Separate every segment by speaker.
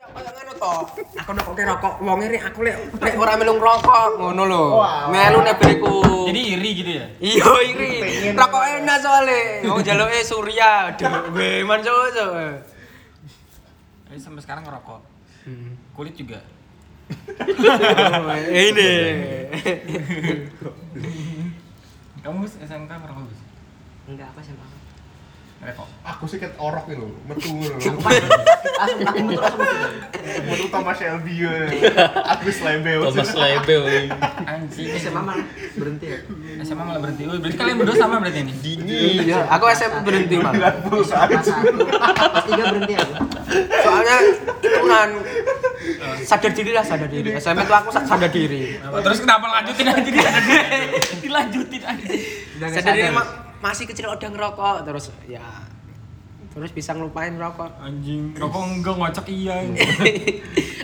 Speaker 1: Oh, ya rokok. Aku nokoke rokok wonge rek aku lek lek ora melu rokok ngono lho.
Speaker 2: Wow.
Speaker 1: Melu nek beriku.
Speaker 3: Jadi iri gitu ya.
Speaker 1: iya iri. Rokok enak soalnya. Oh jaluke Surya dhewe man cowok. cowok.
Speaker 3: Jadi sampai sekarang ngerokok.
Speaker 1: Hmm.
Speaker 3: Kulit juga.
Speaker 1: Oh, Ini.
Speaker 3: Kamu Gus, SMK ngerokok Gus?
Speaker 1: Enggak apa sih, Bang.
Speaker 3: Ngerokok.
Speaker 2: Aku sih ket orok nih lho, metu lho.
Speaker 1: Langsung aku muter langsung muter.
Speaker 2: Metu Thomas Shelby. ya. Aku slebeu.
Speaker 4: Thomas Lebel.
Speaker 3: Anjing.
Speaker 1: SMA malah berhenti ya.
Speaker 3: SMA malah berhenti. Oh, berarti kalian berdua sama berarti ini.
Speaker 1: Iya, aku SMA berhenti malah.
Speaker 2: Pulsa.
Speaker 5: Pas tiga berhenti aku.
Speaker 1: Soalnya tunan sadar diri lah sadar diri. SMA tuh aku sadar diri.
Speaker 3: Terus kenapa lanjutin aja dilanjutin? dilanjutin aja.
Speaker 1: sadar diri ma- masih kecil udah ngerokok terus ya terus bisa ngelupain rokok
Speaker 3: Anjing, rokok enggak ngocok iya.
Speaker 1: Hmm.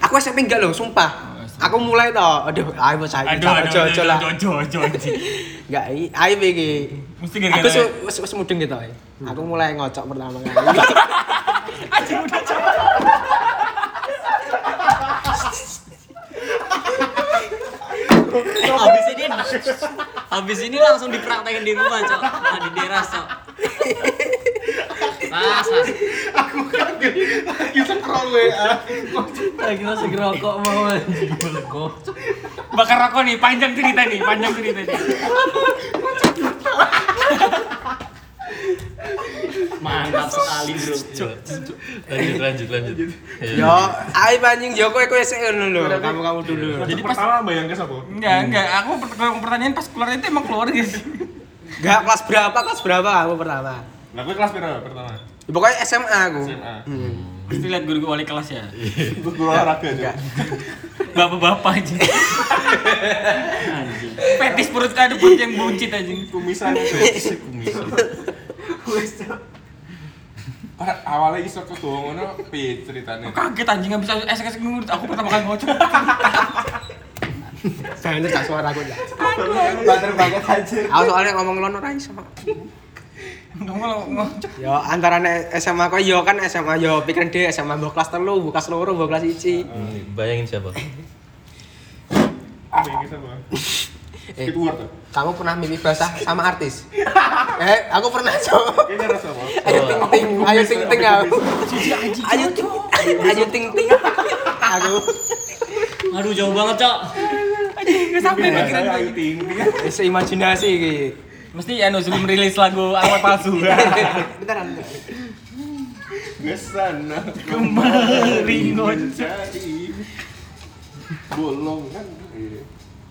Speaker 1: aku SMP enggak loh
Speaker 3: Oh,
Speaker 1: sumpah aku mulai toh aduh ayo saya
Speaker 3: Aduh, aduh,
Speaker 1: jojo
Speaker 3: aduh,
Speaker 1: lah
Speaker 3: jojo, jojo, anjing.
Speaker 1: enggak i- ayo iki
Speaker 3: Mesti
Speaker 1: aku
Speaker 3: gara-gara.
Speaker 1: su- wis wis mudeng gitu ae.
Speaker 3: Hmm.
Speaker 1: aku mulai ngocok pertama kali
Speaker 3: Anjing udah coba.
Speaker 4: Habis ini habis ini langsung dipraktekin di rumah, Cok. Nah, di teras, Cok. Mas, mas.
Speaker 2: Aku kaget. Lagi scroll WA.
Speaker 4: Lagi masih ngerokok mau anjing.
Speaker 3: Bakar rokok nih, panjang cerita nih, panjang cerita nih.
Speaker 4: Mantap sekali, Bro. Lanjut, lanjut, lanjut.
Speaker 6: Ya.
Speaker 1: yo ayo anjing yo kowe kowe sik ngono lho kamu kamu dulu
Speaker 3: Iya.
Speaker 2: Jadi pertama bayangin siapa?
Speaker 3: Enggak, enggak. Aku per- kalau pertanyaan pas keluar itu emang keluar gitu.
Speaker 1: enggak kelas berapa kelas berapa kamu pertama
Speaker 2: Nah, gue kelas berapa pertama?
Speaker 1: Ya, pokoknya SMA aku
Speaker 2: SMA.
Speaker 1: Hmm.
Speaker 3: Mesti lihat guru wali kelas ya.
Speaker 2: Terus gue olahraga aja.
Speaker 1: Enggak.
Speaker 3: Bapak-bapak anjing. Petis perut kado pun yang buncit anjing.
Speaker 2: Kumisan. Kumisan. Pada awalnya iso ketemu ngono pi ceritanya.
Speaker 3: Kaget anjing nggak bisa esek-esek nurut. Aku pertama kali ngocok.
Speaker 1: jangan tak suara aku ya
Speaker 2: Bader banget anjir.
Speaker 1: aku soalnya ngomong lono ora iso
Speaker 3: Kamu kalau ngocok
Speaker 1: Yo antarane SMA kok yo kan SMA yo pikiran dhewe SMA mbok kelas 3, mbok kelas 2, mbok kelas 1.
Speaker 6: Hmm,
Speaker 4: Bayangin siapa?
Speaker 2: Bayangin siapa?
Speaker 1: Eh.
Speaker 2: Skip word tuh.
Speaker 1: Kamu pernah mimpi basah sama artis? eh, aku pernah, Cok.
Speaker 2: Kayaknya rasa apa?
Speaker 1: Ayo ting ting, ayo ting ting aku. Ayo ting, ayo ting ting. Aku
Speaker 4: Aduh, jauh banget, Cok.
Speaker 3: nggak sampai pikiran
Speaker 2: Biasanya
Speaker 3: gue.
Speaker 2: ayu ting ting.
Speaker 1: wis imajinasi Eh, iki.
Speaker 3: Mesti anu sebelum rilis lagu awal palsu.
Speaker 1: Beneran.
Speaker 2: Kesana
Speaker 3: Kemari ngocok.
Speaker 2: mencari bolong kan. Iya.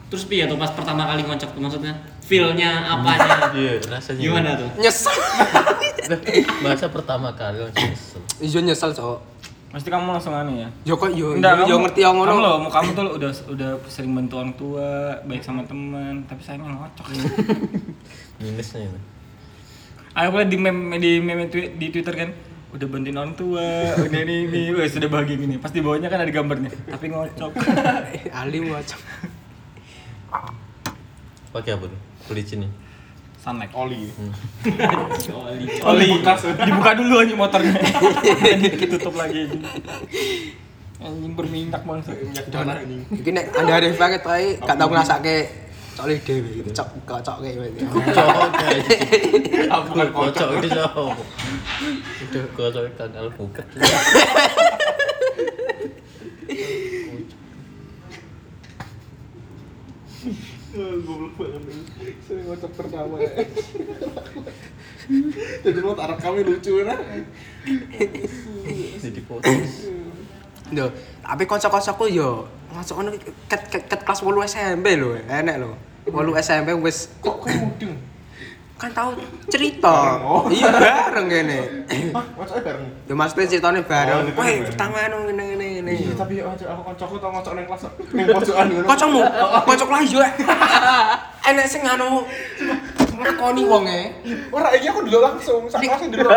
Speaker 4: Terus piye tuh pas pertama kali ngocok tuh maksudnya? Feel-nya apanya?
Speaker 6: Iya, rasanya.
Speaker 4: Gimana tuh?
Speaker 1: Nyesel.
Speaker 6: Masa pertama kali langsung nyesel.
Speaker 1: Iya nyesel, Cok.
Speaker 3: Mesti kamu langsung anu ya.
Speaker 1: Yo kok yo yo Oh, ngerti yang
Speaker 3: Kamu
Speaker 1: ngono.
Speaker 3: loh, mau kamu tuh lo udah udah sering bantu orang tua, baik sama teman, tapi sayangnya ngocok ya.
Speaker 6: Minusnya itu.
Speaker 3: Aku liat di meme di meme twi- di Twitter kan udah bantuin orang tua, udah ini ini, wes sudah bahagia gini. Pas di bawahnya kan ada gambarnya, tapi ngocok.
Speaker 1: Eh, Alim wajah.
Speaker 6: Pakai apa tuh? Pelicin ya.
Speaker 3: Sunlight.
Speaker 2: Oli.
Speaker 3: Oli,
Speaker 2: bekas.
Speaker 3: Oh, dibuka dulu aja motornya. Dikit tutup lagi. anjing. Anjing berminyak bangsa.
Speaker 2: Minyak tanah ini.
Speaker 1: Iki nek anda arif banget kae gak tau ngrasake cok li dhewe gitu. Cok kocok kayak
Speaker 6: Cowok Bukan kocok itu cowok. Udah kocok kanal buket.
Speaker 2: Eh, Goblok banget. Saya ngocok pertama. ya. Jadi lo tarik kami lucu nah.
Speaker 6: Jadi kocok.
Speaker 1: Lho, tapi kanca-kancaku yo masuk ono ket, ket, ket kelas 8 SMP lho, enek lho. 8 SMP wis
Speaker 2: Kok kamu mudeng?
Speaker 1: kan tau cerita.
Speaker 2: Oh.
Speaker 1: Iya bareng kene.
Speaker 2: Hah, ngocoknya bareng.
Speaker 1: Yo maksudnya ceritanya
Speaker 2: Oh,
Speaker 1: bareng.
Speaker 2: ceritanya
Speaker 1: Weh,
Speaker 2: bareng.
Speaker 1: pertama anu ngene ngene ngene.
Speaker 2: Iya, tapi ngocok aku kocokku tau ngocok neng kelas neng pojokan ya. ngono.
Speaker 1: Kocokmu, kocok lah yo. Enek sing anu ngakoni wong e.
Speaker 2: Ora iki aku dulu langsung, sak kelas dulu.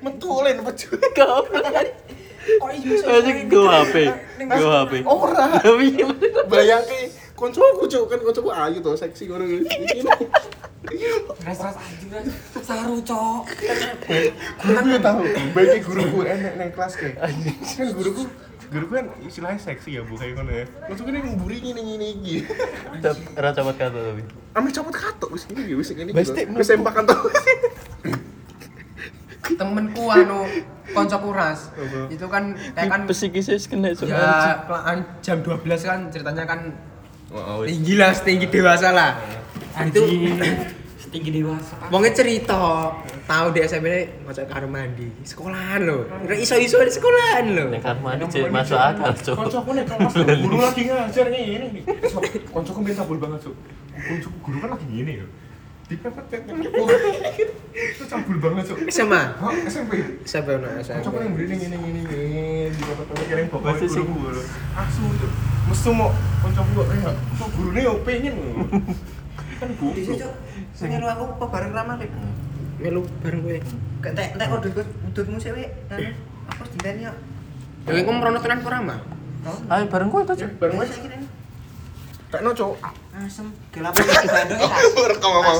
Speaker 2: Metulin pojok. Oh,
Speaker 1: Kok iya
Speaker 6: Gue HP. Gue HP.
Speaker 2: Ora. Bayangke koncoku cuk kan koncoku ayu to, seksi ngono kan. iki.
Speaker 3: Ras-ras anjing ras.
Speaker 1: saru cok.
Speaker 2: Guru tahu, baiknya guruku enek neng kelas ke. Kan guruku Guru kan istilahnya seksi ya bu kayak ngono ya.
Speaker 7: Maksudnya ini mburi ini ini ini
Speaker 6: Ra copot kata tapi.
Speaker 7: Ambil copot katok wis ini wis ini.
Speaker 6: Wis,
Speaker 7: gitu.
Speaker 6: Dik,
Speaker 7: Wis sempakan tau.
Speaker 1: temenku anu konco kuras itu kan kayak kan
Speaker 6: Psikisnya kena
Speaker 1: ya kelaan jam 12 kan ceritanya kan
Speaker 2: Oh,
Speaker 1: tinggi lah setinggi dewasa lah itu
Speaker 3: setinggi dewasa
Speaker 1: wongnya cerita tahu di SMP ini ngocok karo mandi sekolahan loh Kira iso-iso di sekolahan loh
Speaker 6: Nek karma ini cek
Speaker 2: לא
Speaker 6: masuk akal cok.
Speaker 2: Koncoku nih kelas tuh, guru lagi ngajar nih ini nih. Sok, Koncoku minta bol banget cok. Koncoku guru kan lagi gini ya. Dipepet-pepet. Itu cabul banget cok.
Speaker 1: SMA
Speaker 2: Hah, SMP.
Speaker 1: siapa yang nanya
Speaker 2: Koncoku
Speaker 1: SMP
Speaker 2: yang beri nih ini ini ini. Dipepet-pepet kalian bawa
Speaker 6: Masih sih.
Speaker 2: guru. Asu cok. Mesu mau koncoku gak kayak. Kok guru nih yo pengen. Kan goblok.
Speaker 5: Melu aku kok bareng ramah Rip.
Speaker 1: melu bareng gue
Speaker 5: Entek entek kok dudut dudutmu sih Wik. Anu, Aku dinteni yuk.
Speaker 1: ya gue merono tenan kurama
Speaker 6: Ayo bareng gue tuh cok.
Speaker 5: Bareng wis iki. Ren.
Speaker 7: Tekno cok.
Speaker 5: Asem gelap. Bandung tak.
Speaker 7: Rekam mau.